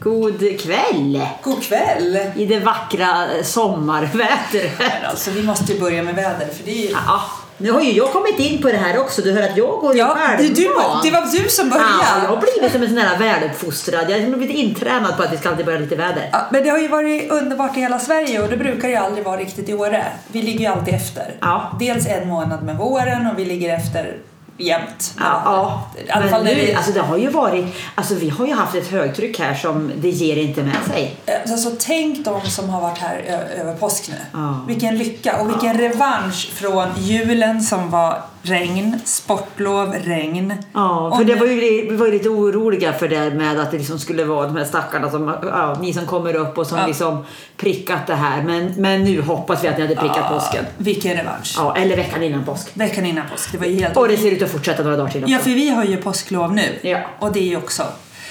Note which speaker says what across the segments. Speaker 1: God kväll!
Speaker 2: God kväll!
Speaker 1: I det vackra sommarvädret.
Speaker 2: Alltså, vi måste ju börja med väder för det är ju...
Speaker 1: Ja, nu har ju jag kommit in på det här också. Du hör att jag går
Speaker 2: Ja,
Speaker 1: i
Speaker 2: det, du,
Speaker 1: självmål.
Speaker 2: det var du som började.
Speaker 1: Ja, jag har blivit som en sån här väluppfostrad. Jag har liksom blivit intränad på att vi ska alltid börja lite väder.
Speaker 2: Ja, men det har ju varit underbart i hela Sverige och det brukar ju aldrig vara riktigt i Åre. Vi ligger ju alltid efter.
Speaker 1: Ja.
Speaker 2: Dels en månad med våren och vi ligger efter jämt.
Speaker 1: Ja,
Speaker 2: I
Speaker 1: ja.
Speaker 2: alla
Speaker 1: men
Speaker 2: fall när
Speaker 1: nu,
Speaker 2: vi...
Speaker 1: alltså det har ju varit, alltså vi har ju haft ett högtryck här som det ger inte med sig.
Speaker 2: Alltså, tänk de som har varit här ö- över påsk nu.
Speaker 1: Ja.
Speaker 2: Vilken lycka och vilken revansch från julen som var regn, sportlov, regn.
Speaker 1: Ja,
Speaker 2: Och
Speaker 1: för det
Speaker 2: nu-
Speaker 1: var ju, vi var ju lite oroliga för det med att det liksom skulle vara de här stackarna som, ja, ni som kommer upp och som
Speaker 2: Ja.
Speaker 1: liksom prickat det här. Men, men nu hoppas vi att ni hade prickat påsken.
Speaker 2: Vilken revansch.
Speaker 1: Ja, eller veckan innan påsk.
Speaker 2: Veckan innan påsk. Det var ju helt
Speaker 1: Och det ser ut att fortsätta några dagar till också.
Speaker 2: Ja, för vi har ju påsklov nu.
Speaker 1: Ja.
Speaker 2: Och det är ju också.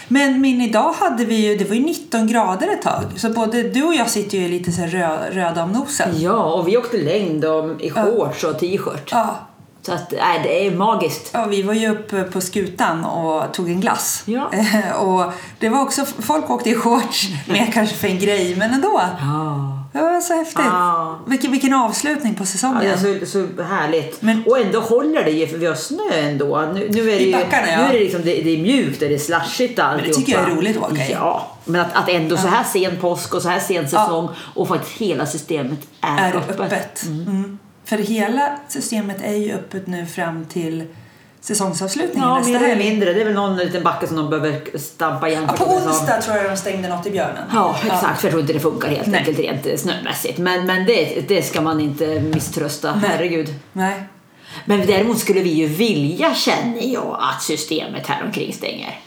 Speaker 2: Men min idag hade vi ju, det var ju 19 grader ett tag. Så både du och jag sitter ju lite så här rö, röda om nosen.
Speaker 1: Ja, och vi åkte längd om i shorts och t-shirt.
Speaker 2: Ja.
Speaker 1: Så att, nej, det är magiskt.
Speaker 2: ja, vi var ju uppe på skutan och tog en glass.
Speaker 1: Ja.
Speaker 2: Eh, och det var också, folk åkte i shorts, mer kanske för en grej, men ändå.
Speaker 1: Ja.
Speaker 2: Det var så häftigt.
Speaker 1: Ja.
Speaker 2: Vilken, vilken avslutning på säsongen.
Speaker 1: Ja, så, så härligt.
Speaker 2: Men-
Speaker 1: och ändå håller det ju för vi har snö ändå. Nu, nu är det
Speaker 2: I
Speaker 1: ju,
Speaker 2: backarna, ja.
Speaker 1: nu är det, liksom, det, det är mjukt och det är slashigt och
Speaker 2: det tycker jag är
Speaker 1: alltihopa.
Speaker 2: roligt att åka i.
Speaker 1: Ja, men att, att ändå så här sen påsk och så här sen säsong och faktiskt hela systemet är,
Speaker 2: är öppet. Mm. För hela systemet är ju öppet nu fram till säsongsavslutningen
Speaker 1: Ja,
Speaker 2: nästa
Speaker 1: mer eller
Speaker 2: helg.
Speaker 1: mindre. Det är väl någon liten backe som de behöver stampa igen.
Speaker 2: Ja,
Speaker 1: för
Speaker 2: på
Speaker 1: att det är så-
Speaker 2: onsdag tror jag de stängde något i Björnen.
Speaker 1: Ja, exakt. För jag tror inte det funkar helt
Speaker 2: Nej.
Speaker 1: enkelt rent snömässigt. Men, men det, det ska man inte misströsta.
Speaker 2: Nej.
Speaker 1: Herregud.
Speaker 2: Nej.
Speaker 1: Men däremot skulle vi ju vilja, känner jag, att systemet här omkring stänger.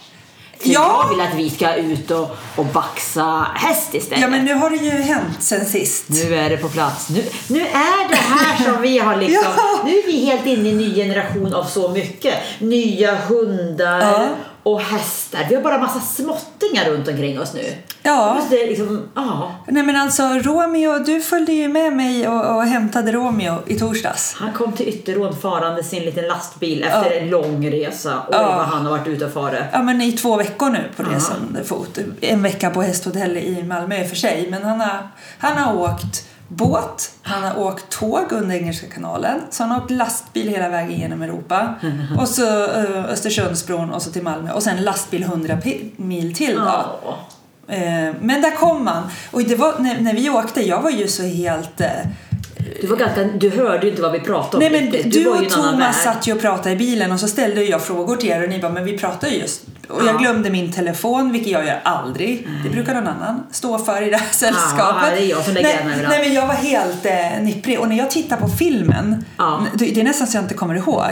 Speaker 1: För
Speaker 2: Ja.
Speaker 1: jag vill att vi ska ut och, och baxa häst istället.
Speaker 2: Ja, men nu har det ju hänt sen sist.
Speaker 1: Nu är det på plats. Nu, nu är det här som vi har liksom...
Speaker 2: Ja.
Speaker 1: Nu är vi helt inne i en ny generation av så mycket. Nya hundar
Speaker 2: Ja.
Speaker 1: och hästar. Vi har bara massa småttingar runt omkring oss nu.
Speaker 2: Ja.
Speaker 1: Just Det är liksom, ja.
Speaker 2: Nej men alltså Romeo, du följde ju med mig och, och hämtade Romeo i torsdags.
Speaker 1: Han kom till Ytterråd farande sin liten lastbil efter en lång resa. Oj,
Speaker 2: Ja.
Speaker 1: vad han har varit ute och fare.
Speaker 2: Ja men i två veckor nu på resande fot. En vecka på hästhotell i Malmö i och för sig. Men han har, han har åkt båt, han har åkt tåg under Engelska kanalen. Så han har åkt lastbil hela vägen genom Europa. Och så eh, Östersundsbron och så till Malmö. Och sen lastbil 100 pi- mil till då.
Speaker 1: Ja.
Speaker 2: Eh, Men där kom han. Och det var, när, när vi åkte, jag var ju så helt... eh,
Speaker 1: Du, var ganska, du hörde ju inte vad vi pratade om
Speaker 2: Nej men
Speaker 1: riktigt.
Speaker 2: du
Speaker 1: var ju i
Speaker 2: och
Speaker 1: en annan
Speaker 2: Thomas
Speaker 1: värld.
Speaker 2: satt ju och pratade i bilen och så ställde jag frågor till er och ni bara, men vi pratar ju just. Och jag
Speaker 1: Ja. Mm.
Speaker 2: glömde min telefon, vilket jag gör aldrig. Det brukar någon annan stå för i det här sällskapet.
Speaker 1: det är jag som lägger henne
Speaker 2: nej,
Speaker 1: överallt.
Speaker 2: nej men jag var helt eh, nipprig. Och när jag tittar på filmen,
Speaker 1: Ja.
Speaker 2: det, det är nästan så jag inte kommer ihåg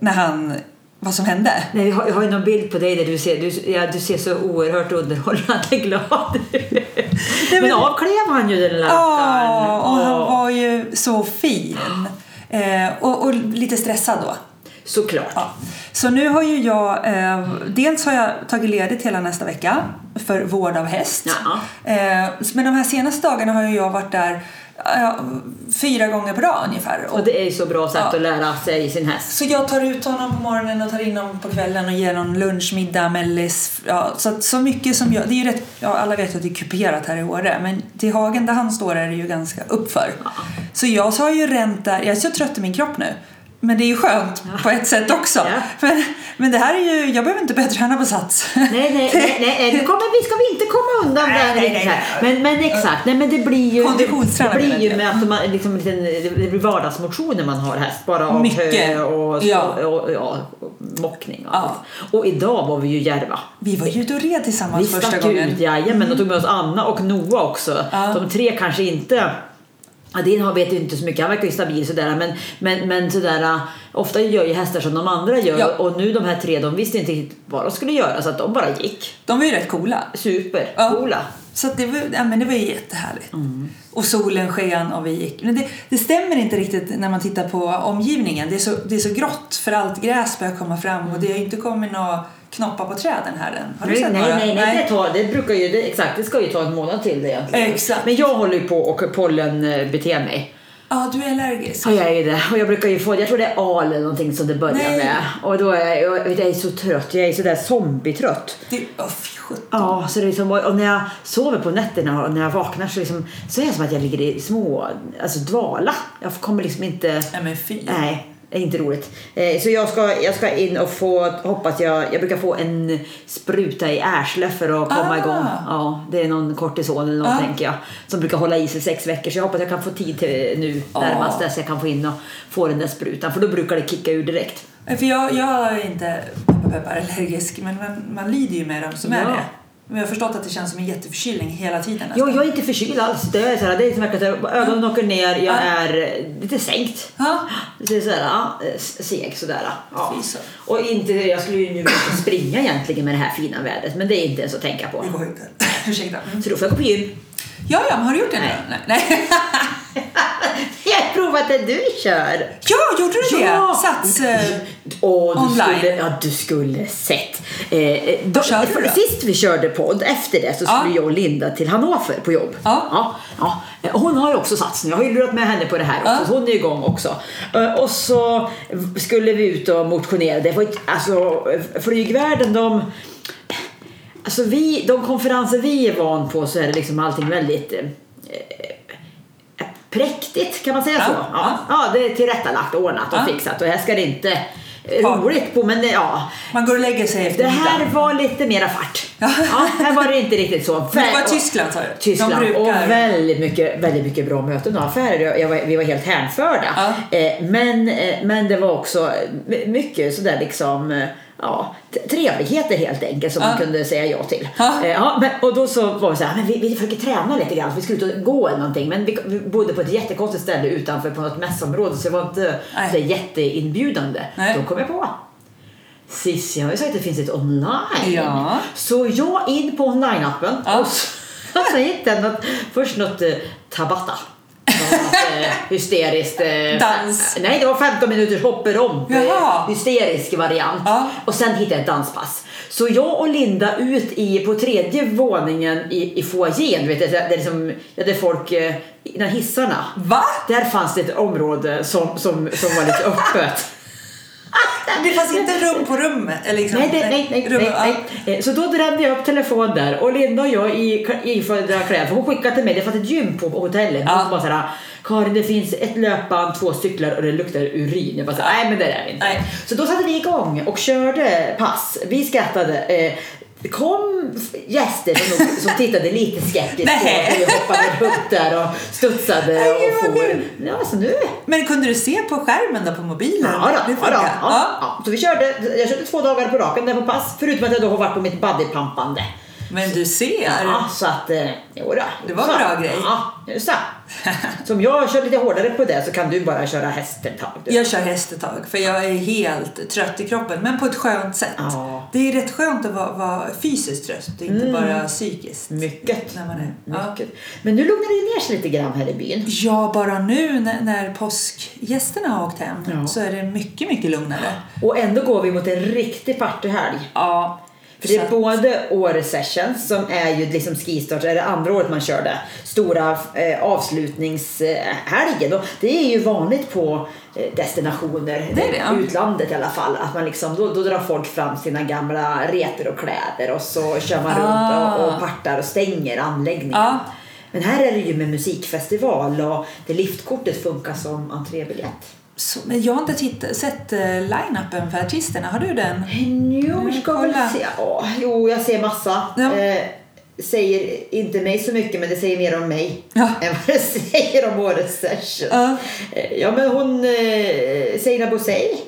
Speaker 2: när han, vad som hände.
Speaker 1: Nej, jag har, jag har ju någon bild på dig där du ser, du, ja, du ser så oerhört underhållande glad ut. Men,
Speaker 2: men-
Speaker 1: avklev han ju den där rackaren.
Speaker 2: Ja, och han
Speaker 1: Ja,
Speaker 2: var ju så fin. Eh, och, och lite stressad då.
Speaker 1: Såklart.
Speaker 2: Ja. Så nu har ju jag, eh, dels har jag tagit ledigt hela nästa vecka för vård av häst.
Speaker 1: Ja.
Speaker 2: Eh, men de här senaste dagarna har ju jag varit där eh, fyra gånger per dag ungefär.
Speaker 1: Och
Speaker 2: Och,
Speaker 1: det är ju så bra sätt
Speaker 2: Ja.
Speaker 1: att lära sig sin häst.
Speaker 2: så jag tar ut honom på morgonen och tar in honom på kvällen och ger honom lunch, middag, mellis. Ja, så, att så mycket som jag, det är ju rätt, ja, alla vet ju att det är kuperat här i Åre men till hagen där han står är det ju ganska uppför. Så jag har ju ränt där, jag är så trött i min kropp nu. Men det är ju skönt på ett sätt också.
Speaker 1: Ja.
Speaker 2: Men, men det här är ju, jag behöver inte börja träna på sats.
Speaker 1: Nej, nej, nej, nej, nej. Nu kommer, vi ska vi inte komma undan
Speaker 2: Nej,
Speaker 1: där
Speaker 2: nej,
Speaker 1: riktigt
Speaker 2: nej,
Speaker 1: här. Men, men exakt, nej, men det blir ju, det
Speaker 2: Konditionsträning
Speaker 1: blir ju
Speaker 2: menar
Speaker 1: med att man, liksom, en liten, det blir vardagsmotioner man har häst. Bara av
Speaker 2: Mycket.
Speaker 1: hö och,
Speaker 2: Ja.
Speaker 1: och, och, ja, och mockning och
Speaker 2: Ja.
Speaker 1: allt. Och idag var vi ju Järva.
Speaker 2: Vi var ju ute och red
Speaker 1: Vi
Speaker 2: tillsammans första
Speaker 1: stack
Speaker 2: gången. Mm.
Speaker 1: ut, jajamän, och tog med oss Anna och Noah också.
Speaker 2: Ja.
Speaker 1: De tre kanske inte Ja, din har vet ju inte så mycket, han verkar ju stabil sådär men, men, men sådär, äh, ofta gör ju hästar som de andra gör
Speaker 2: Ja.
Speaker 1: och nu de här tre de visste inte riktigt vad de skulle göra så att de bara gick.
Speaker 2: De var ju rätt coola.
Speaker 1: Supercoola.
Speaker 2: Så att det, var, ja, men det var ju jättehärligt. Och solen sken och vi gick. Men det, det stämmer inte riktigt när man tittar på omgivningen. Det är så, det är så grått för allt gräs börjar komma fram och det har ju inte kommit några knoppar på träden här än. Har du
Speaker 1: Nej,
Speaker 2: sett
Speaker 1: nej,
Speaker 2: några?
Speaker 1: nej, Det, tar, det brukar ju, det, exakt, det ska ju ta en månad till det egentligen.
Speaker 2: Exakt.
Speaker 1: Men jag håller ju på och pollenbete mig.
Speaker 2: Ja, du är allergisk.
Speaker 1: Ja, jag är ju det. Och jag brukar ju få, jag tror det är al eller någonting som det börjar
Speaker 2: Nej.
Speaker 1: med. Och då är jag, jag, vet, jag är så trött, jag är sådär zombietrött.
Speaker 2: Det, oh, fy sjutton.
Speaker 1: Ja, så det är liksom, och när jag sover på nätterna och när jag vaknar så, liksom, så är det som att jag ligger i små, alltså dvala. Jag kommer liksom inte,
Speaker 2: Nej men fy.
Speaker 1: nej, det är inte roligt. Eh, Så jag ska, jag ska in och få, hoppas jag, jag brukar få en spruta i arslet för att komma
Speaker 2: Ah.
Speaker 1: igång. Ja, det är någon kortison eller något
Speaker 2: Ah.
Speaker 1: tänker jag, som brukar hålla i sig sex veckor. Så jag hoppas jag kan få tid till nu
Speaker 2: Ah.
Speaker 1: närmast dess jag kan få in och få den där sprutan, för då brukar det kicka ur direkt.
Speaker 2: Nej, För jag, jag är inte peppar, peppar, allergisk, men man, man lider ju med dem som är
Speaker 1: Ja.
Speaker 2: det. Men jag har förstått att det känns som en jätteförkylning hela tiden.
Speaker 1: Jo, jag är inte förkyld alls. Det är så här, det är som att jag-
Speaker 2: Mm.
Speaker 1: ögonen åker ner, jag
Speaker 2: Ja.
Speaker 1: är lite sänkt.
Speaker 2: Ja.
Speaker 1: Lite sådär, ja, eh, seg sådär. Ja.
Speaker 2: Fy så.
Speaker 1: Och inte, jag skulle ju nu inte springa egentligen med det här fina vädret, men det är inte ens att tänka på.
Speaker 2: Det går inte. Ursäkta. Mm.
Speaker 1: Så då får jag gå på gym.
Speaker 2: Ja, ja, men har du gjort det nu? Nej. Nej.
Speaker 1: Jag har provat det du kör!
Speaker 2: Ja, gjorde du det? Sats... eh,
Speaker 1: Åh, du
Speaker 2: online.
Speaker 1: Skulle, ja, du skulle sett. Eh, eh, då,
Speaker 2: körde du då?
Speaker 1: Sist vi körde podd, efter det, så
Speaker 2: Ja.
Speaker 1: skulle jag och Linda till Hannover på jobb.
Speaker 2: Ja.
Speaker 1: Ja, ja. Eh, Hon har ju också sats nu. Jag har ju lurat med henne på det här också.
Speaker 2: Ja.
Speaker 1: Så hon är igång också. Eh, Och så skulle vi ut och motionera. Det var ju, alltså, flygvärlden de... Alltså vi, de konferenser vi är van på så är det liksom allting väldigt eh, eh, präktigt, kan man säga så?
Speaker 2: Ja,
Speaker 1: Ja, ja, det är tillrättalagt, ordnat och
Speaker 2: Ja.
Speaker 1: fixat och här ska det inte eh,
Speaker 2: Ja.
Speaker 1: roligt på men det- ja.
Speaker 2: Man går och lägger sig efter
Speaker 1: Det här
Speaker 2: middagen.
Speaker 1: var lite mera fart. Ja, här var det inte riktigt så.
Speaker 2: Men det var
Speaker 1: Väl-
Speaker 2: Tyskland sa du?
Speaker 1: Tyskland
Speaker 2: De brukar...
Speaker 1: och väldigt mycket, väldigt mycket bra möten och affärer. Jag- Jag var, vi var helt hänförda. Eh, men, eh, men det var också my- mycket sådär liksom eh, Ja, t- trevligheter helt enkelt som man
Speaker 2: Ja.
Speaker 1: kunde säga ja till.
Speaker 2: Ja.
Speaker 1: Eh, ja, men, och då så var vi så här, men vi, vi försöker träna lite grann, så vi skulle ut och gå eller någonting. Men vi, vi bodde på ett jättekonstigt ställe utanför på något mässområde så det var inte
Speaker 2: Nej.
Speaker 1: så jätteinbjudande.
Speaker 2: Nej.
Speaker 1: Då kom jag på, Cissi har ju sagt att det finns ett online.
Speaker 2: Ja.
Speaker 1: Så jag in på online-appen
Speaker 2: Ja.
Speaker 1: och så, så hittade jag något, först något eh, Tabata. Något, eh, hysteriskt. eh,
Speaker 2: Dans.
Speaker 1: Nej, det var 15 minuters hopperomp. eh,
Speaker 2: Jaha.
Speaker 1: Hysterisk variant.
Speaker 2: Ja.
Speaker 1: Och sen hittade jag ett danspass. Så jag och Linda ut i, på tredje våningen i, i foajén, du vet, där, där, liksom, där det folk, eh, innan hissarna.
Speaker 2: Va?
Speaker 1: Där fanns det ett område som, som, som var lite öppet.
Speaker 2: Det fanns inte rum på rummet? eller Liksom.
Speaker 1: Nej, det, nej, nej,
Speaker 2: Rum-
Speaker 1: nej, nej, Eh, Så då drömde jag upp telefon där och Linda och jag i ifödda kläder, för hon skickade till mig, det fanns ett gym på hotellet. Hon
Speaker 2: Ja.
Speaker 1: bara såhär, Karin det finns ett löpband, två cyklar och det luktar urin. Jag bara såhär, nej men det är det inte.
Speaker 2: Nej.
Speaker 1: Så då satte vi igång och körde pass. Vi skrattade. Eh, det kom f- gäster som, nog- som tittade lite skeptiskt på
Speaker 2: Nej.
Speaker 1: oss när vi hoppade upp där och studsade
Speaker 2: Nej,
Speaker 1: och
Speaker 2: vad
Speaker 1: for.
Speaker 2: kul.
Speaker 1: Ja, så nu
Speaker 2: Men kunde du se på skärmen då på mobilen?
Speaker 1: Ja, då,
Speaker 2: Det
Speaker 1: ja, då,
Speaker 2: funkar.
Speaker 1: ja, ja. Så vi körde, jag körde två dagar på raken där på pass, förutom att jag då har varit på mitt bodypumpande.
Speaker 2: Men du ser.
Speaker 1: Ja, så att, eh, jodå.
Speaker 2: Det var en
Speaker 1: Så.
Speaker 2: bra grej.
Speaker 1: Ja, just det. Så om jag kör lite hårdare på det så kan du bara köra häst ett tag. Du.
Speaker 2: Jag kör häst ett tag för jag är helt trött i kroppen men på ett skönt sätt.
Speaker 1: Ja. Mm.
Speaker 2: Det är rätt skönt att vara, vara fysiskt trött och inte bara psykiskt.
Speaker 1: Mycket.
Speaker 2: När man är. Ja.
Speaker 1: Mycket. Men nu lugnar det ner sig lite grann här i byn.
Speaker 2: ja, bara nu när, när påskgästerna har åkt hem
Speaker 1: Ja.
Speaker 2: så är det mycket, mycket lugnare.
Speaker 1: Och ändå går vi mot en riktig partyhelg.
Speaker 2: Ja.
Speaker 1: För det
Speaker 2: Så
Speaker 1: är
Speaker 2: att-
Speaker 1: både Åre Sessions som är ju liksom skistart, det är det andra året man kör det. Stora eh, avslutningshelgen. Och det är ju vanligt på eh, destinationer,
Speaker 2: Det är det, ja.
Speaker 1: utlandet i alla fall. Att man liksom, då, då drar folk fram sina gamla retor och kläder och så kör man runt
Speaker 2: Ah.
Speaker 1: och, och partar och stänger anläggningen.
Speaker 2: Ja.
Speaker 1: Men här är det ju med musikfestival och det liftkortet funkar som entrébiljett.
Speaker 2: så, men jag har inte titt- sett eh, line-upen för artisterna. Har du den?
Speaker 1: Jo, vi
Speaker 2: Mm,
Speaker 1: ska väl
Speaker 2: kolla.
Speaker 1: se. Ja, jo, jag ser massa.
Speaker 2: Ja.
Speaker 1: Eh, säger inte mig så mycket, men det säger mer om mig
Speaker 2: Ja.
Speaker 1: än vad det säger om årets session.
Speaker 2: Ja.
Speaker 1: Eh, ja, men hon... Eh, Sina Bosei.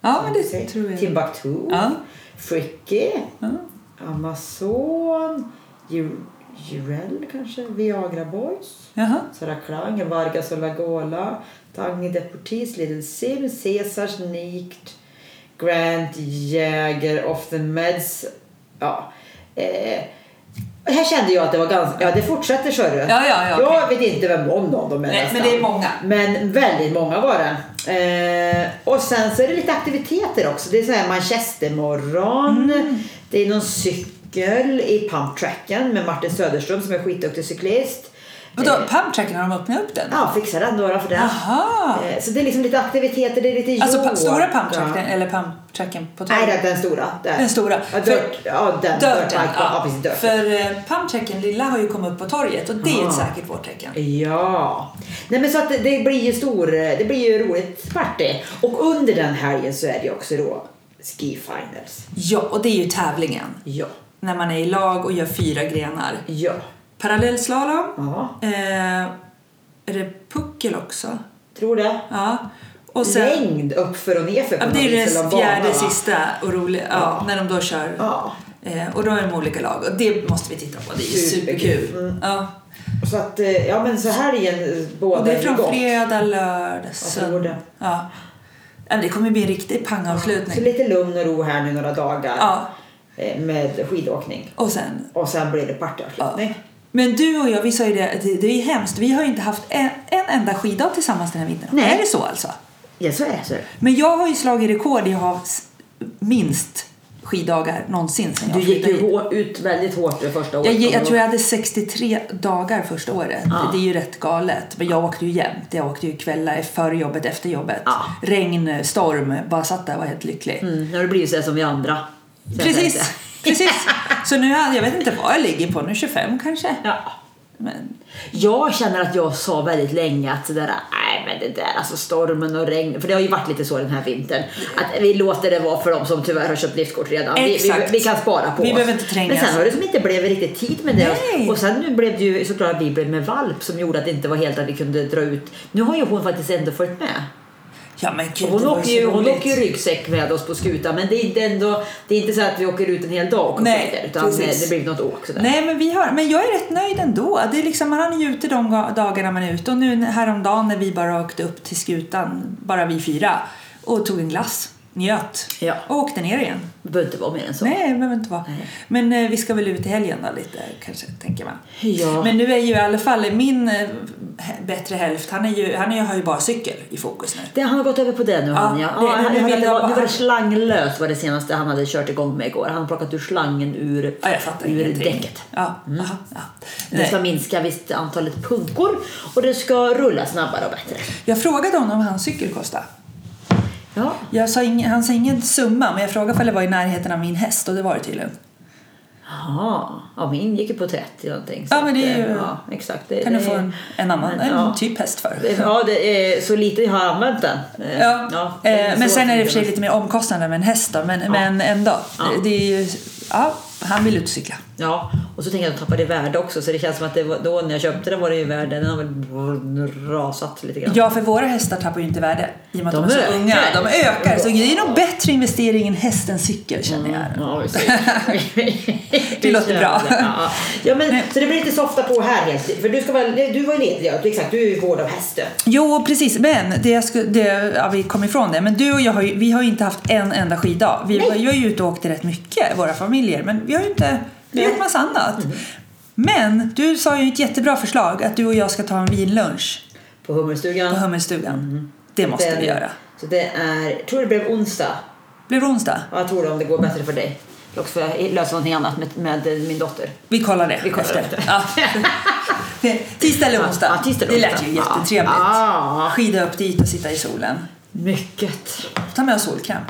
Speaker 2: Ja, men det tror jag.
Speaker 1: Timbuktu.
Speaker 2: Ja.
Speaker 1: Fricky.
Speaker 2: Ja.
Speaker 1: Amazon. Ju- Jurel kanske. Viagra Boys.
Speaker 2: Jaha.
Speaker 1: Sara Klang, Vargas och Lagola, Dagny Deportis, Little Sim, Caesars, Nikt, Grant, Jäger, Off the Meds. Ja. Eh, här kände jag att det var ganska... Ja, det fortsätter, så du.
Speaker 2: ja, ja,
Speaker 1: Jag vet inte vem någon av dem är
Speaker 2: Nej,
Speaker 1: nästan.
Speaker 2: men det är många.
Speaker 1: Men väldigt många var det. Eh, och sen så är det lite aktiviteter också. Det är så här manchestermorgon.
Speaker 2: Mm.
Speaker 1: Det är någon cykel i pumptracken med Martin Söderström som är skitduktig cyklist.
Speaker 2: Vadå, pumptracken, har de öppnat upp den?
Speaker 1: Eh. Ja, fixar den några för det.
Speaker 2: Jaha!
Speaker 1: Eh, Så det är liksom lite aktiviteter, det är lite
Speaker 2: Alltså pa-
Speaker 1: yoga.
Speaker 2: stora pumptracken, eller pumptracken på
Speaker 1: Nej,
Speaker 2: tåget?
Speaker 1: den, den stora. Den,
Speaker 2: Den stora.
Speaker 1: Ja,
Speaker 2: För-
Speaker 1: dirt, ja, den. dirt
Speaker 2: Dörten,
Speaker 1: bike, ja.
Speaker 2: ja.
Speaker 1: precis, dirt.
Speaker 2: För eh, pumptracken lilla har ju kommit upp på torget och det är
Speaker 1: Aha.
Speaker 2: ett säkert vårtecken.
Speaker 1: Ja, nej men så att det- det blir ju stor, det blir ju roligt party. Och under den helgen så är det ju också då Ski Finals.
Speaker 2: Ja, och det är ju tävlingen.
Speaker 1: Ja,
Speaker 2: När man är i lag och gör fyra grenar.
Speaker 1: ja,
Speaker 2: Parallellslalom.
Speaker 1: ja,
Speaker 2: Eh, är det puckel också?
Speaker 1: tror det.
Speaker 2: Ja. Och sen,
Speaker 1: Längd uppför och nerför på
Speaker 2: ja, det
Speaker 1: något
Speaker 2: är
Speaker 1: vis, eller
Speaker 2: det
Speaker 1: bana, va?
Speaker 2: fjärde sista och roliga, ja, när de då kör.
Speaker 1: Ja,
Speaker 2: Eh, och då är de olika lag och det måste vi titta på, det är ju
Speaker 1: Superkul. Mm.
Speaker 2: superkul. Ja.
Speaker 1: så att eh, ja men så helgen eh, båda
Speaker 2: Och det är
Speaker 1: ju gott.
Speaker 2: från fredag, lördag,
Speaker 1: fredag.
Speaker 2: söndag. Ja. Ja, Det kommer bli en riktig
Speaker 1: Så
Speaker 2: pangavslutning.
Speaker 1: lite lugn och ro här nu några dagar
Speaker 2: Ja.
Speaker 1: eh, med skidåkning.
Speaker 2: Och sen
Speaker 1: Och sen blir det partyavslutning.
Speaker 2: Men du och jag, vi sa ju det, att det, det är hemskt. Vi har ju inte haft en, en enda skiddag tillsammans den här vintern.
Speaker 1: Nej.
Speaker 2: Är det så alltså?
Speaker 1: Ja. så är det. Så. är det.
Speaker 2: Men jag har ju slagit rekord i att ha s- minst skiddagar någonsin sen jag
Speaker 1: Du gick
Speaker 2: flyttade
Speaker 1: ju
Speaker 2: hit.
Speaker 1: hår, ut väldigt hårt det första året.
Speaker 2: jag, ge- jag
Speaker 1: Och-
Speaker 2: tror jag hade 63 dagar första året.
Speaker 1: Ja.
Speaker 2: Det är ju rätt galet. Men jag åkte ju jämt. Jag åkte ju kvällar före jobbet, efter jobbet.
Speaker 1: Ja.
Speaker 2: Regn, storm. Bara satt där och var helt lycklig.
Speaker 1: Ah. Mm, nu har det blivit så här som vi andra. Så jag tänkte-
Speaker 2: Precis! Precis! Så nu, har- jag vet inte vad jag ligger på nu. 25 kanske?
Speaker 1: Ja.
Speaker 2: Men
Speaker 1: Jag känner att jag sa väldigt länge att sådär, nej men det där alltså stormen och regn, för det har ju varit lite så den här vintern, att vi låter det vara för de som tyvärr har köpt liftkort redan. Vi, vi,
Speaker 2: Exakt.
Speaker 1: vi kan spara på
Speaker 2: Vi
Speaker 1: oss.
Speaker 2: behöver inte trängas.
Speaker 1: Men sen har det som inte blivit riktigt tid med det.
Speaker 2: Nej.
Speaker 1: Och sen nu blev det ju såklart att vi blev med valp som gjorde att det inte var helt att vi kunde dra ut. Nu har ju hon faktiskt ändå följt med.
Speaker 2: Ja men gud,
Speaker 1: Och Hon
Speaker 2: det var
Speaker 1: åker, ju,
Speaker 2: så
Speaker 1: hon
Speaker 2: roligt.
Speaker 1: åker ju ryggsäck med oss på skutan men det är inte, ändå, det är inte så att vi åker ut en hel dag och
Speaker 2: Nej,
Speaker 1: skidor, utan eh,
Speaker 2: precis.
Speaker 1: det blir något åk sådär.
Speaker 2: Nej men, vi har, men jag är rätt nöjd ändå. Det är liksom, man är ju ute de ga- dagarna man är ute och nu häromdagen när vi bara åkte upp till skutan, bara vi fyra, och tog en glass, njöt
Speaker 1: Ja.
Speaker 2: och åkte ner igen.
Speaker 1: Det behöver inte vara mer än så.
Speaker 2: Nej, det behöver inte vara.
Speaker 1: Nej.
Speaker 2: Men eh, vi ska väl ut i helgen då lite kanske, tänker man.
Speaker 1: Ja.
Speaker 2: Men nu är ju i alla fall min eh, he- bättre hälft, han, är ju, han är ju, har ju bara cykel i fokus nu.
Speaker 1: Det, han har gått över på det nu. han, ja.
Speaker 2: det-
Speaker 1: ja, han,
Speaker 2: nu
Speaker 1: han,
Speaker 2: vill
Speaker 1: hade-
Speaker 2: jag bara-
Speaker 1: nu var det slanglös var det senaste han hade kört igång med igår. Han har plockat ur slangen ur,
Speaker 2: Ja, jag fattar
Speaker 1: ur
Speaker 2: ingenting.
Speaker 1: däcket.
Speaker 2: Ja, aha, ja.
Speaker 1: Det
Speaker 2: Nej.
Speaker 1: ska minska visst antalet punkor och det ska rulla snabbare och bättre.
Speaker 2: Jag frågade honom vad hans cykel kostade.
Speaker 1: Ja.
Speaker 2: Jag sa ing- han sa ingen summa, men jag frågade om det var i närheten av min häst och det var det tydligen.
Speaker 1: Jaha. Ja, min gick ju på 30 någonting. så
Speaker 2: Ja, men det är
Speaker 1: att, eh,
Speaker 2: ju-
Speaker 1: Ja, exakt. Det,
Speaker 2: Kan du
Speaker 1: det-
Speaker 2: få en, en annan,
Speaker 1: Eh, men,
Speaker 2: en
Speaker 1: ja.
Speaker 2: typ häst för?
Speaker 1: Det- Ja, det är, så lite har jag använt den. Eh,
Speaker 2: Ja.
Speaker 1: det är
Speaker 2: eh, men
Speaker 1: så
Speaker 2: sen är det i och för sig
Speaker 1: fint.
Speaker 2: lite mer omkostnader med en häst då, men, men ändå.
Speaker 1: Ja.
Speaker 2: Det är ju, ja, han vill ut och cykla.
Speaker 1: Ja, och så tänker jag att de tappade i värde också så det känns som att det var, då när jag köpte den var det ju värde, den har väl rasat lite grann.
Speaker 2: Ja, för våra hästar tappar ju inte värde i och med att de,
Speaker 1: De
Speaker 2: är så
Speaker 1: ökar.
Speaker 2: unga. De ökar. Så det är nog bättre investering än häst än cykel känner jag.
Speaker 1: Ja, vi ser.
Speaker 2: Mm. Det låter bra.
Speaker 1: Ja, ja, men, så det blir lite softa på här helt För du, ska väl, du var ju ledig, ja, exakt, du är ju vård av hästen.
Speaker 2: Jo, precis. Men det jag skulle, det, ja, vi kom ifrån det. Men du och jag har ju, vi har ju inte haft en enda skiddag. Vi var, vi var ju ute och åkte rätt mycket, våra familjer. Men vi har ju inte, vi har gjort massa annat.
Speaker 1: Mm.
Speaker 2: Men du sa ju ett jättebra förslag att du och jag ska ta en vinlunch
Speaker 1: På Hummerstugan.
Speaker 2: på Hummelstugan. Det måste
Speaker 1: Mm. Den-
Speaker 2: vi göra.
Speaker 1: Så det är, jag tror det blev onsdag.
Speaker 2: Blir det onsdag?
Speaker 1: Ja, jag tror det om det går bättre för dig. Jag ska lösa någonting annat med, med min dotter.
Speaker 2: Vi kollar det
Speaker 1: Vi kollar efter.
Speaker 2: Ja. Det- Tisdag eller onsdag.
Speaker 1: Ja, tisdag eller
Speaker 2: det
Speaker 1: onsdag.
Speaker 2: lät ju
Speaker 1: Ja.
Speaker 2: jättetrevligt.
Speaker 1: Ja.
Speaker 2: Skida upp dit och sitta i solen.
Speaker 1: Mycket.
Speaker 2: Ta med oss solkräm.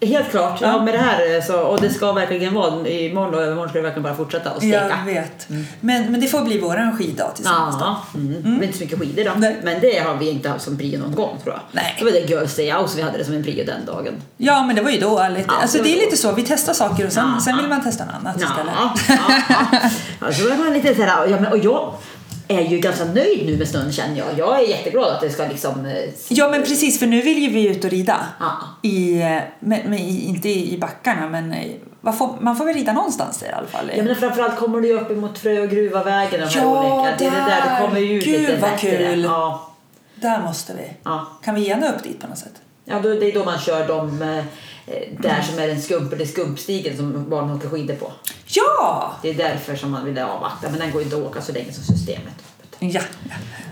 Speaker 1: Helt klart. Ja,
Speaker 2: Ja.
Speaker 1: med det här eh, så, och det ska verkligen vara imorgon och övermorgon ska det verkligen bara fortsätta att steka.
Speaker 2: Jag vet.
Speaker 1: Mm.
Speaker 2: Men, men det får bli våran skiddag tillsammans då.
Speaker 1: Ja, mm. Det är inte så mycket skidor då.
Speaker 2: Nej.
Speaker 1: Men det har vi inte haft som prio någon gång tror jag.
Speaker 2: Nej.
Speaker 1: Det var det Girls Day Out som vi hade det som en prio den dagen.
Speaker 2: Ja, men det var ju då. Lite.
Speaker 1: Ja,
Speaker 2: alltså,
Speaker 1: det
Speaker 2: det
Speaker 1: var
Speaker 2: är
Speaker 1: då.
Speaker 2: lite så, vi testar saker och sen,
Speaker 1: Ja.
Speaker 2: sen vill man testa något annat
Speaker 1: Ja,
Speaker 2: istället.
Speaker 1: ja, ja. ja. Så var man lite så här, ja, men, och jag är ju ganska nöjd nu med snön känner jag. Jag är jätteglad att det ska liksom... eh,
Speaker 2: Ja, men precis, för nu vill ju vi ut och rida.
Speaker 1: Ja.
Speaker 2: I, eh, men, men, i- inte i backarna, men eh, vad får, man får väl rida någonstans i alla fall.
Speaker 1: Ja, men framförallt kommer du ju upp emot Frö och Gruvavägen och de här
Speaker 2: Ja,
Speaker 1: olika. Det är det där,
Speaker 2: där.
Speaker 1: du kommer ju ut
Speaker 2: Gud,
Speaker 1: lite
Speaker 2: vad
Speaker 1: bättre.
Speaker 2: kul.
Speaker 1: Ja,
Speaker 2: Där måste vi.
Speaker 1: ja.
Speaker 2: Kan vi gärna upp dit på något sätt?
Speaker 1: ja då, det är då man kör de eh, där som är den skump, eller skumpstigen som barnen åker skidor på.
Speaker 2: Ja!
Speaker 1: Det är därför som man ville avvakta, men den går inte att åka så länge som systemet är öppet.
Speaker 2: Ja,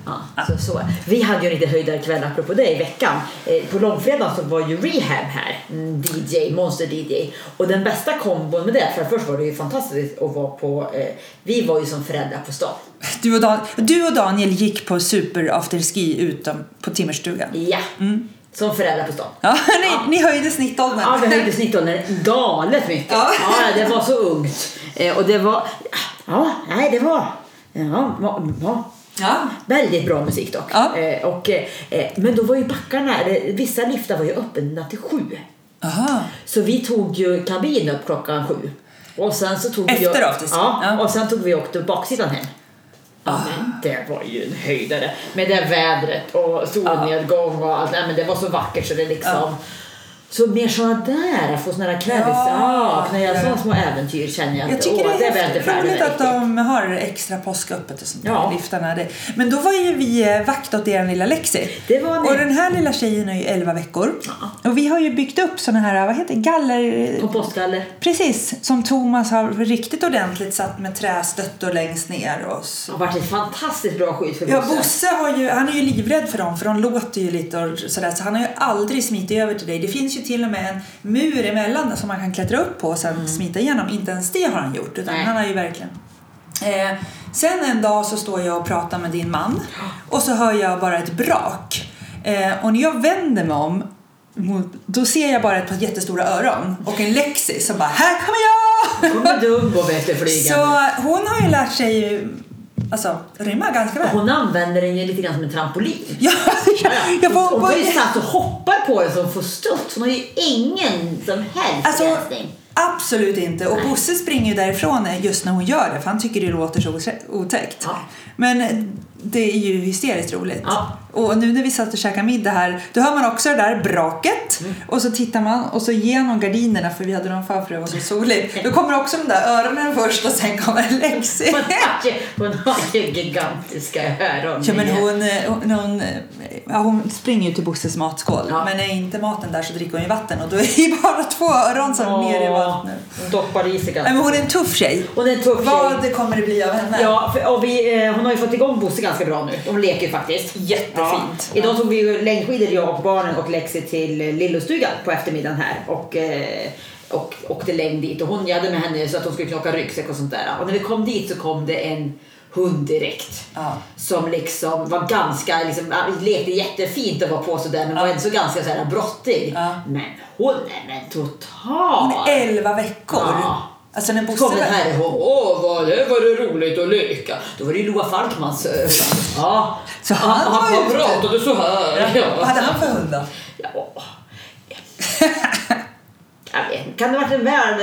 Speaker 2: ja.
Speaker 1: Ja, så, så. Vi hade ju en lite höjdarkväll, apropå det, i veckan. Eh, på långfredagen så var ju Rehab här, mm, DJ, Monster DJ. Och den bästa kombon med det, för först var det ju fantastiskt att vara på, eh, vi var ju som föräldrar på stan.
Speaker 2: Du och, Dan- du och Daniel gick på super afterski utom på timmerstugan.
Speaker 1: Ja, som föräldrar på stan.
Speaker 2: Ja, ni, ni höjde snittåldern.
Speaker 1: Ja, vi höjde snittåldern galet mycket.
Speaker 2: Ja.
Speaker 1: Ja. det var så ungt. Eh, Och det var... Ja, nej, det var... Ja, ja, ja.
Speaker 2: Ja.
Speaker 1: Väldigt bra musik dock.
Speaker 2: Ja.
Speaker 1: Eh, och, eh, men då var ju backarna, eller vissa liftar var ju öppna till sju.
Speaker 2: Aha.
Speaker 1: Så vi tog ju kabin upp klockan sju. Och sen så tog vi...
Speaker 2: Efter afterski.
Speaker 1: ja,
Speaker 2: Ja. Ah.
Speaker 1: och sen tog vi och åkte baksidan hem. Ja, men det var ju en höjdare. Med det vädret och solnedgång och allt. Nej, men det var så vackert så det liksom... Så mer sådana där, få sådana där kvälls...
Speaker 2: Ja.
Speaker 1: Ja, när jag sådana små äventyr känner jag,
Speaker 2: Jag
Speaker 1: att,
Speaker 2: tycker
Speaker 1: åh,
Speaker 2: det
Speaker 1: var jag
Speaker 2: är
Speaker 1: inte
Speaker 2: häftigt.
Speaker 1: färdig med
Speaker 2: roligt att
Speaker 1: riktigt.
Speaker 2: de har extra påsköppet och sånt där,
Speaker 1: Ja.
Speaker 2: liftarna. Det. Men då var ju vi eh, vakt åt er lilla Lexi.
Speaker 1: Det var ni.
Speaker 2: Och den här lilla tjejen är ju 11 veckor. Och vi har ju byggt upp såna här, vad heter det, galler...
Speaker 1: Kompostgaller.
Speaker 2: Precis, som Thomas har riktigt ordentligt satt med trästöttor längst ner och så.
Speaker 1: Det har varit ett fantastiskt bra skydd för
Speaker 2: Ja,
Speaker 1: Bosse.
Speaker 2: Bosse har ju, han är ju livrädd för dem för de låter ju lite och sådär så han har ju aldrig smitit över till dig. Det finns ju till och med en mur emellan som man kan klättra upp på och sen smita igenom. Inte ens det har han gjort utan
Speaker 1: Mm. Nej.
Speaker 2: han har ju verkligen... Eh, sen en dag så står jag och pratar med din man och så hör jag bara ett brak. Eh, och när jag vänder mig om mot- då ser jag bara ett par jättestora öron och en Lexi som bara “Här kommer jag!”
Speaker 1: kommer Dumbo vet du flyga.
Speaker 2: Så hon har ju lärt sig alltså, rymma ganska väl.
Speaker 1: Hon använder den ju lite grann som en trampolin.
Speaker 2: Ja, jag var
Speaker 1: Hon har ju
Speaker 2: på...
Speaker 1: satt och alltså hoppar på den som får studs. Hon har ju ingen som helst
Speaker 2: Alltså,
Speaker 1: begränsning.
Speaker 2: absolut inte. Och Bosse springer ju därifrån just när hon gör det för han tycker det låter så oträ- otäckt.
Speaker 1: Ja.
Speaker 2: Men det är ju hysteriskt roligt.
Speaker 1: Ja.
Speaker 2: Och nu när vi satt och käkade middag här, då hör man också det där braket.
Speaker 1: Mm.
Speaker 2: Och så tittar man och så genom gardinerna, för vi hade dem för för det var så soligt. Då kommer också de där öronen först och sen kommer Lexi.
Speaker 1: Hon har ju- Hon har ju gigantiska öron.
Speaker 2: Ja, men hon, eh, hon, hon, eh, ja, hon springer ju till Bosses matskål.
Speaker 1: Ja.
Speaker 2: Men är inte maten där så dricker hon ju vatten och då är det ju bara två öron som är ner i vattnet.
Speaker 1: Hon doppar i sig
Speaker 2: Nej,
Speaker 1: ganska.
Speaker 2: men hon är en tuff tjej.
Speaker 1: Hon är en tuff tjej.
Speaker 2: Vad kommer det bli av henne?
Speaker 1: Ja, för, och vi, eh, hon har ju fått igång Bosse ganska bra nu. De leker ju faktiskt.
Speaker 2: Jättefint.
Speaker 1: Ja. Idag tog vi ju längdskidor jag och barnen och Lexi till eh, Lillostugan på eftermiddagen här och, eh, och åkte längd dit. Och hon, jag hade med henne så att hon skulle knocka ryggsäck och sånt där. Och när vi kom dit så kom det en hund direkt.
Speaker 2: Ja.
Speaker 1: Som liksom var ganska, liksom, ja, lekte jättefint och var på sådär men var ändå så ganska så här brottig.
Speaker 2: Ja.
Speaker 1: Men hon är men total!
Speaker 2: Hon är 11 veckor.
Speaker 1: Ja.
Speaker 2: Alltså när
Speaker 1: Så kom
Speaker 2: Bosse
Speaker 1: den
Speaker 2: var...
Speaker 1: här ihåg. Åh, vad det var det roligt att leka. Då var det ju Loa Falkmans eh, Ja.
Speaker 2: Så han var
Speaker 1: han
Speaker 2: ute.
Speaker 1: pratade så här.
Speaker 2: Vad
Speaker 1: Ja.
Speaker 2: hade han för hund då?
Speaker 1: ja. Jag vet inte. Kan det ha varit en, väl,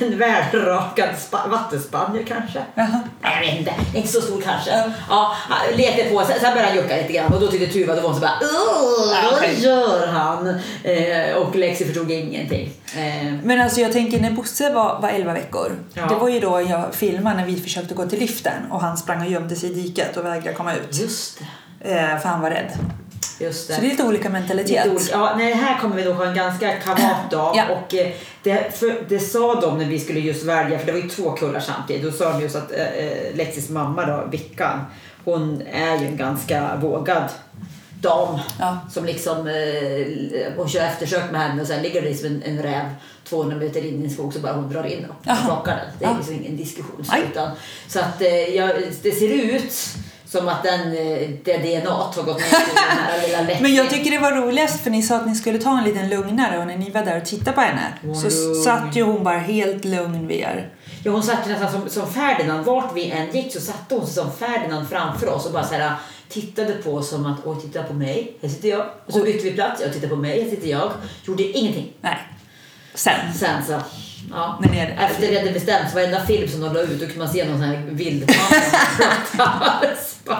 Speaker 1: en välrakad spa- vattenspanier kanske?
Speaker 2: Jaha.
Speaker 1: Nej, jag vet inte. Inte så stor kanske.
Speaker 2: Ja.
Speaker 1: Ja, han lekte på. Sen, sen började han jucka lite grann och då tyckte Tuva, då var hon så bara "Åh,
Speaker 2: Okej.
Speaker 1: Vad gör han? Eh, och Lexi förstod ingenting. Eh,
Speaker 2: Men alltså jag tänker när Bosse var, var 11 veckor.
Speaker 1: Ja.
Speaker 2: Det var ju då jag filmade när vi försökte gå till liften och han sprang och gömde sig i diket och vägrade komma ut.
Speaker 1: just det.
Speaker 2: Eh, för han var rädd.
Speaker 1: Just det.
Speaker 2: Så det är lite olika mentalitet.
Speaker 1: Lite olika. Ja, nej, här kommer vi nog ha en ganska kavat dag.
Speaker 2: Ja.
Speaker 1: Och eh, det, för, det sa de när vi skulle just välja, för det var ju två kullar samtidigt. Då sa de just att eh, eh, Lexis mamma då, Vickan, hon är ju en ganska vågad dam.
Speaker 2: Ja.
Speaker 1: Som liksom, eh, hon kör eftersök med henne och sen ligger det liksom en, en räv 200 meter in i en skog så bara hon drar in och
Speaker 2: Jaha.
Speaker 1: plockar den. Det är
Speaker 2: Ja.
Speaker 1: liksom ingen diskussion. Så,
Speaker 2: Nej.
Speaker 1: utan, så att eh, jag, det ser ut som att den, eh, det DNA har gått ner i den här lilla Lexi.
Speaker 2: Men jag tycker det var roligast för ni sa att ni skulle ta en liten lugnare och när ni var där och tittade på henne
Speaker 1: Hon var
Speaker 2: så
Speaker 1: lugn.
Speaker 2: satt ju hon bara helt lugn vid er.
Speaker 1: Ja, hon satt ju nästan som, som Ferdinand. Vart vi än gick så satte hon sig som Ferdinand framför oss och bara så här, tittade på oss som att oj, titta på mig, här sitter jag. Och så bytte vi plats, jag tittar på mig, här sitter jag. Gjorde ingenting.
Speaker 2: Nej. Sen.
Speaker 1: Sen så, ja.
Speaker 2: Men är det-
Speaker 1: Efter det hade bestämts, varenda film som de la ut, då kunde man se någon sån här vild man.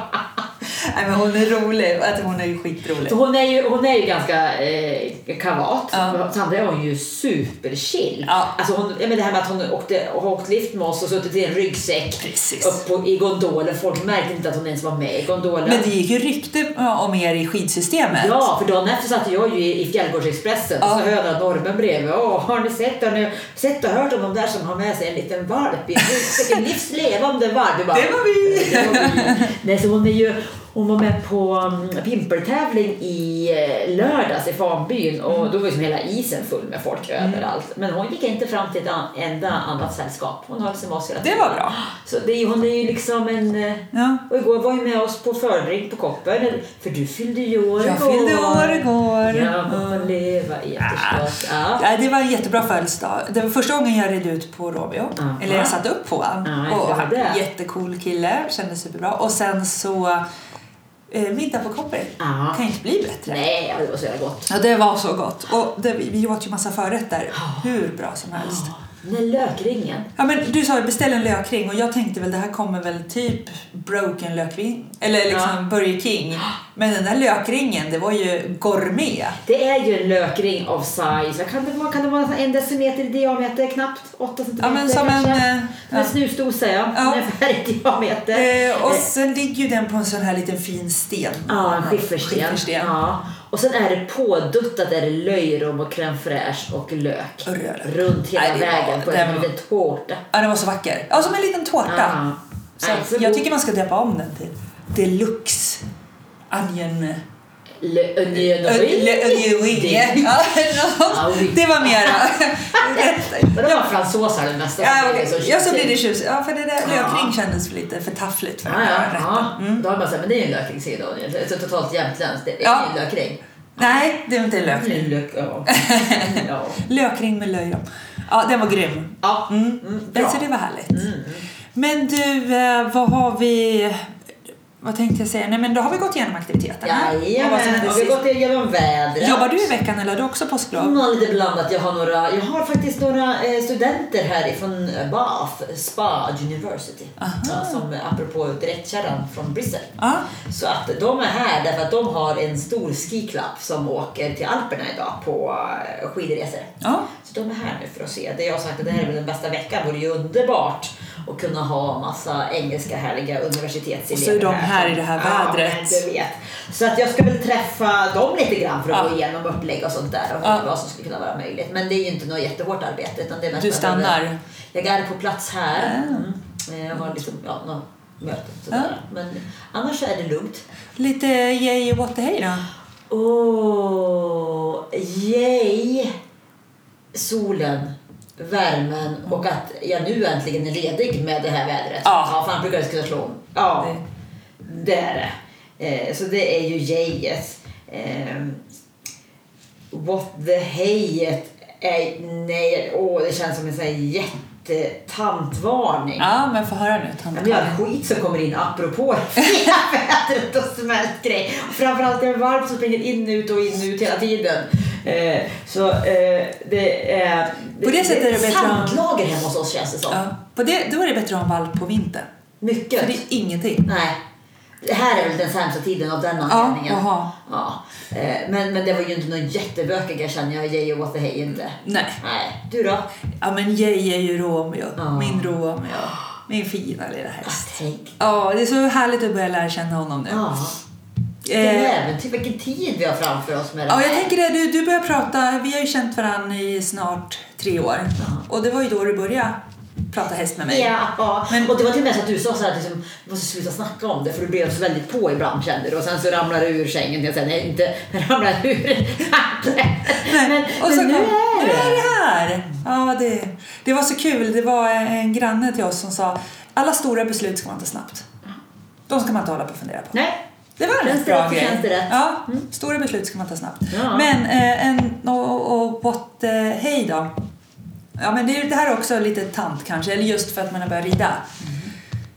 Speaker 2: Nej men hon är rolig. Att hon är ju skitrolig.
Speaker 1: Så hon är ju, hon är ju ganska eh, kavat.
Speaker 2: Ja.
Speaker 1: Samtidigt är hon ju superchill.
Speaker 2: Ja.
Speaker 1: Alltså hon, ja, men det här med att hon åkte, har åkt lift med oss och suttit i en ryggsäck
Speaker 2: Precis.
Speaker 1: upp på, i gondolen. Folk märkte inte att hon ens var med i gondolen.
Speaker 2: Men det gick ju rykte om er i skidsystemet.
Speaker 1: Ja, för dagen efter satt jag ju i i Fjällgårdsexpressen och
Speaker 2: Ja.
Speaker 1: så hörde jag normen bredvid. Åh, har ni sett, har ni sett och hört om de där som har med sig en liten valp i en ryggsäck? En livs levande valp. Vi bara,
Speaker 2: Det var vi!
Speaker 1: "Det var vi." Nej, så mm, hon, är ju, hon var med på um, pimpeltävling i eh, lördags i Fanbyn och
Speaker 2: Mm.
Speaker 1: då var ju som hela isen full med folk överallt. Men hon gick inte fram till ett an- enda annat sällskap. Hon höll sig med oss hela
Speaker 2: Det
Speaker 1: tiden.
Speaker 2: var bra.
Speaker 1: Så det, är ju- hon är ju liksom en... eh,
Speaker 2: Ja.
Speaker 1: Och igår var ju med oss på fördrink på Koppel. För du fyllde ju år
Speaker 2: Jag
Speaker 1: igår.
Speaker 2: fyllde år igår. Ah.
Speaker 1: Ja,
Speaker 2: Mm.
Speaker 1: man leva i efterskott. Ja.
Speaker 2: Nej, det var en jättebra födelsedag. Det var första gången jag red ut på Romeo.
Speaker 1: Aha.
Speaker 2: Eller jag satte upp på han.
Speaker 1: Ja, jag
Speaker 2: och
Speaker 1: hörde det.
Speaker 2: jättecool kille, kändes superbra. Och sen så eh, middag på Koppel.
Speaker 1: Ja.
Speaker 2: Kan inte bli bättre.
Speaker 1: Nej, det var så jävla gott.
Speaker 2: Ja, det var så gott. Och det, vi åt ju massa förrätter. Hur bra som helst.
Speaker 1: Den där lökringen.
Speaker 2: Ja, men du sa ju beställ en lökring och jag tänkte väl det här kommer väl typ broken lökring. Eller liksom Burger King. Men den där lökringen, det var ju gourmet.
Speaker 1: Det är ju en lökring av size. Vad kan det vara? Kan det vara en decimeter i diameter knappt? 8 centimeter
Speaker 2: Ja, men som en...
Speaker 1: kanske?
Speaker 2: eh,
Speaker 1: Som en snusdosa ja.
Speaker 2: Ja.
Speaker 1: Ungefär i diameter. Eh,
Speaker 2: Eh, och sen ligger ju den på en sån här liten fin sten.
Speaker 1: Ja, en skiffersten.
Speaker 2: Skiffersten.
Speaker 1: Ja. Och sen är det påduttat är det löjrom och crème fraîche och lök.
Speaker 2: Och röra.
Speaker 1: Runt hela
Speaker 2: Nej, det var-
Speaker 1: vägen på
Speaker 2: den
Speaker 1: en
Speaker 2: var-
Speaker 1: liten tårta.
Speaker 2: Ja, den var så vacker. Ja, som en liten tårta.
Speaker 1: Ja.
Speaker 2: Så
Speaker 1: Nej,
Speaker 2: att
Speaker 1: så
Speaker 2: jag
Speaker 1: god.
Speaker 2: tycker man ska döpa om den till Deluxe Onion...
Speaker 1: Le onion ring.
Speaker 2: Le Onion Ring.
Speaker 1: Det-
Speaker 2: Ja, något.
Speaker 1: ring.
Speaker 2: Det var mera... rätt.
Speaker 1: Men det var fransåsar det mesta.
Speaker 2: Ja,
Speaker 1: alltså, Det är
Speaker 2: okej. ja, så blir det
Speaker 1: tjusigt.
Speaker 2: tjusigt. Ja, för det där
Speaker 1: Ja.
Speaker 2: lökring kändes för lite för taffligt för
Speaker 1: Ja,
Speaker 2: att
Speaker 1: ja,
Speaker 2: vara rätt. Mm.
Speaker 1: ja. Då har man sagt, men det är ju en lökring säger Daniel. Det är så totalt jämtländskt. Det är
Speaker 2: Ja.
Speaker 1: ingen lökring.
Speaker 2: Nej, det var inte en
Speaker 1: Det är
Speaker 2: lökring.
Speaker 1: en lök, ja. ja.
Speaker 2: Lökring med löjrom. Ja, den var grym.
Speaker 1: Ja.
Speaker 2: Mm.
Speaker 1: bra.
Speaker 2: så det var härligt. Men du, eh, vad har vi... Vad tänkte jag säga? Nej, men då har vi gått igenom aktiviteterna. Och vad som
Speaker 1: Jajamän,
Speaker 2: hände
Speaker 1: och vi
Speaker 2: sist.
Speaker 1: har gått igenom vädret.
Speaker 2: Jobbar du i veckan eller har du också påsklov?
Speaker 1: Mm, och lite blandat. Jag har, några, jag har faktiskt några eh, studenter härifrån Bath Spa University. Ja, som apropå direktkärran från Bryssel.
Speaker 2: Ja.
Speaker 1: Så att de är här därför att de har en stor skiklubb som åker till Alperna idag på eh, skidresor.
Speaker 2: ja.
Speaker 1: Så de är här nu för att se. Det jag har sagt att det här är väl den bästa veckan. vore ju underbart att kunna ha massa engelska härliga universitetselever
Speaker 2: Och så är de här i det här vädret.
Speaker 1: Ja, men du vet. Så att jag ska väl träffa dem lite grann för att
Speaker 2: Ja.
Speaker 1: gå igenom upplägg och sånt där och
Speaker 2: Ja.
Speaker 1: vad som skulle kunna vara möjligt. Men det är ju inte något jättehårt arbete. Utan det är mest
Speaker 2: Du
Speaker 1: att jag-
Speaker 2: stannar?
Speaker 1: Jag är på plats här.
Speaker 2: Ah.
Speaker 1: Mm. Eh, Jag har liksom, ja, något möte. och
Speaker 2: Ja.
Speaker 1: Sådär. Men annars är det lugnt.
Speaker 2: Lite yay och what the hey då?
Speaker 1: Åh, yay! Solen, värmen och att jag nu äntligen är ledig med det här vädret.
Speaker 2: Ja.
Speaker 1: ja fan brukar det skulle slå om. Ja,
Speaker 2: Det-
Speaker 1: det är det. Eh, så det är ju yayet. Eh, what the hejet är, nej, åh, det känns som en sån här jättetantvarning.
Speaker 2: Ja, men få höra nu.
Speaker 1: Ja,
Speaker 2: tant
Speaker 1: men jag
Speaker 2: Karin.
Speaker 1: har skit som kommer in apropå vädret och smält grej. Och Framförallt är det varmt som springer in ut och in ut hela tiden. Eh, så eh, det är...
Speaker 2: På det sättet är det bättre att-
Speaker 1: Sandlager hemma hos oss känns det som.
Speaker 2: Ja. På det, då är det bättre att ha en valp på vintern.
Speaker 1: Mycket.
Speaker 2: För det är ingenting.
Speaker 1: Nej. Det här är väl den sämsta tiden av den
Speaker 2: Ja,
Speaker 1: anledningen.
Speaker 2: jaha.
Speaker 1: Ja. Eh, Men, men det var ju inte någon jättebökiga känner jag, Jay och What the Hey E inte.
Speaker 2: Nej.
Speaker 1: Nej. Du då?
Speaker 2: Ja, men yay är ju Romeo.
Speaker 1: Ja.
Speaker 2: Min Romeo. Min fina lilla häst.
Speaker 1: Tänk.
Speaker 2: Ja, det är så härligt att börja lära känna honom nu.
Speaker 1: Ja. Vilken
Speaker 2: Eh,
Speaker 1: äventyr, vilken tid vi har framför oss med det
Speaker 2: Ja,
Speaker 1: här.
Speaker 2: jag tänker det. Du, du börjar prata. Vi har ju känt varandra i snart tre år. Och det var ju då du började prata häst med mig.
Speaker 1: Ja,
Speaker 2: Men-
Speaker 1: och det var till och med så att du sa så här, liksom, du måste sluta snacka om det för du blev så väldigt på ibland kände du och sen så ramlade du ur sängen. Jag säger nej, inte ramlade ur. men
Speaker 2: Och så
Speaker 1: men nu
Speaker 2: kom,
Speaker 1: är
Speaker 2: nu
Speaker 1: det.
Speaker 2: det här! Ja, det, det var så kul. Det var en granne till oss som sa alla stora beslut ska man ta snabbt. De ska man inte hålla på och fundera på.
Speaker 1: Nej,
Speaker 2: Det var en
Speaker 1: Känns
Speaker 2: rätt
Speaker 1: det
Speaker 2: bra
Speaker 1: rätt så
Speaker 2: grej.
Speaker 1: känns det rätt. Mm.
Speaker 2: Ja, Stora beslut ska man ta snabbt.
Speaker 1: Ja.
Speaker 2: Men eh, en, och, och what, eh, hej då. Ja, men det, är ju- det här är också lite tant kanske, eller just för att man har börjat rida.
Speaker 1: Mm.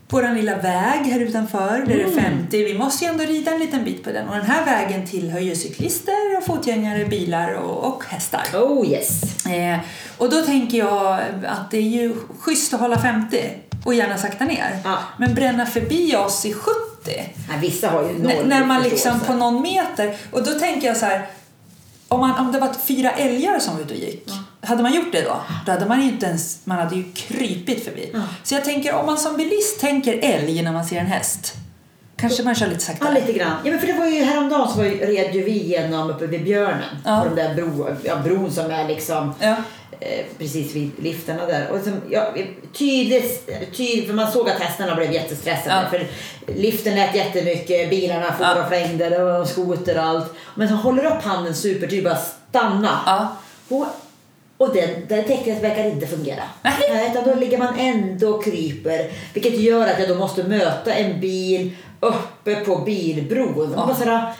Speaker 2: Vår lilla väg här utanför, där det är 50, vi måste ju ändå rida en liten bit på den. Och den här vägen tillhör ju cyklister, och fotgängare, bilar och, och hästar.
Speaker 1: oh yes.
Speaker 2: Eh, och då tänker jag att det är ju schysst att hålla 50 och gärna sakta ner.
Speaker 1: Ja.
Speaker 2: Men bränna förbi oss i 70
Speaker 1: Nej, vissa har ju
Speaker 2: N-
Speaker 1: noll
Speaker 2: när man liksom
Speaker 1: förståelse.
Speaker 2: på någon meter. Och då tänker jag så här. Om, man, om det var fyra älgar som var ute och gick, hade man gjort det då? Då hade man ju inte ens, man hade ju krypit förbi. Så jag tänker om man som bilist tänker älg när man ser en häst. Kanske man kör lite
Speaker 1: Ja,
Speaker 2: saktare.
Speaker 1: lite grann. Ja, men för det var ju häromdagen så var ju, red ju vi igenom uppe vid Björnen.
Speaker 2: Ja.
Speaker 1: På den där bro, ja, bron som är liksom
Speaker 2: Ja.
Speaker 1: eh, precis vid liftarna där. Och som, ja, tydligt, tydligt, för man såg att hästarna blev
Speaker 2: Ja.
Speaker 1: jättestressade. För liften lät jättemycket, bilarna for
Speaker 2: Ja.
Speaker 1: och flängde, det var skoter och allt. Men så håller upp handen supertydligt, bara stanna.
Speaker 2: Ja.
Speaker 1: Och, och det, det täcket verkar inte fungera.
Speaker 2: Nej.
Speaker 1: Utan då ligger man ändå och kryper. Vilket gör att jag då måste möta en bil uppe på bilbron. Och
Speaker 2: Ja. Mm.
Speaker 1: bara sådär,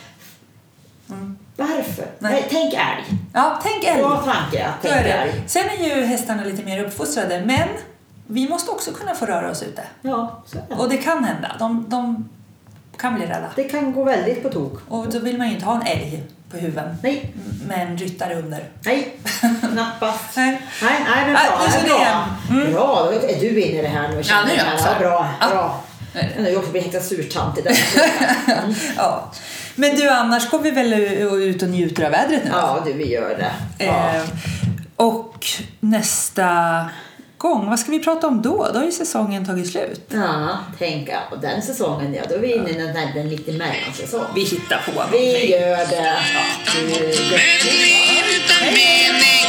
Speaker 1: Varför?
Speaker 2: Nej.
Speaker 1: Nej, tänk älg.
Speaker 2: ja, tänk älg.
Speaker 1: Bra tanke att
Speaker 2: Så är
Speaker 1: tänka
Speaker 2: det.
Speaker 1: älg.
Speaker 2: Sen är ju hästarna lite mer uppfostrade, men vi måste också kunna få röra oss ute.
Speaker 1: Ja, så är det.
Speaker 2: Och det kan hända. De, de kan bli rädda.
Speaker 1: Det kan gå väldigt på tok.
Speaker 2: Och då vill man ju inte ha en älg på huven
Speaker 1: Nej,
Speaker 2: med en ryttare under.
Speaker 1: nej, knappast.
Speaker 2: Nej.
Speaker 1: Nej, nej, men
Speaker 2: Nej,
Speaker 1: bra.
Speaker 2: nu ska
Speaker 1: nej,
Speaker 2: det
Speaker 1: bra.
Speaker 2: igen. Mm.
Speaker 1: bra, då är du inne i det här nu. känner
Speaker 2: Ja, nu är jag
Speaker 1: jag.
Speaker 2: också.
Speaker 1: Bra,
Speaker 2: Ja.
Speaker 1: bra.
Speaker 2: Nej.
Speaker 1: Jag undrar också bli häktad surtant i den.
Speaker 2: Ja. Men du, annars går vi väl ut och njuter av vädret nu?
Speaker 1: Ja, du, vi gör det. Ja.
Speaker 2: Alltså. Eh, och nästa gång, vad ska vi prata om då? Då har ju säsongen tagit slut.
Speaker 1: Ja, tänka. Och den säsongen, ja, då är vi inne i den, den lite mellansäsong.
Speaker 2: Vi hittar på.
Speaker 1: Vi gör det. Du, det.
Speaker 3: Ett liv utan mening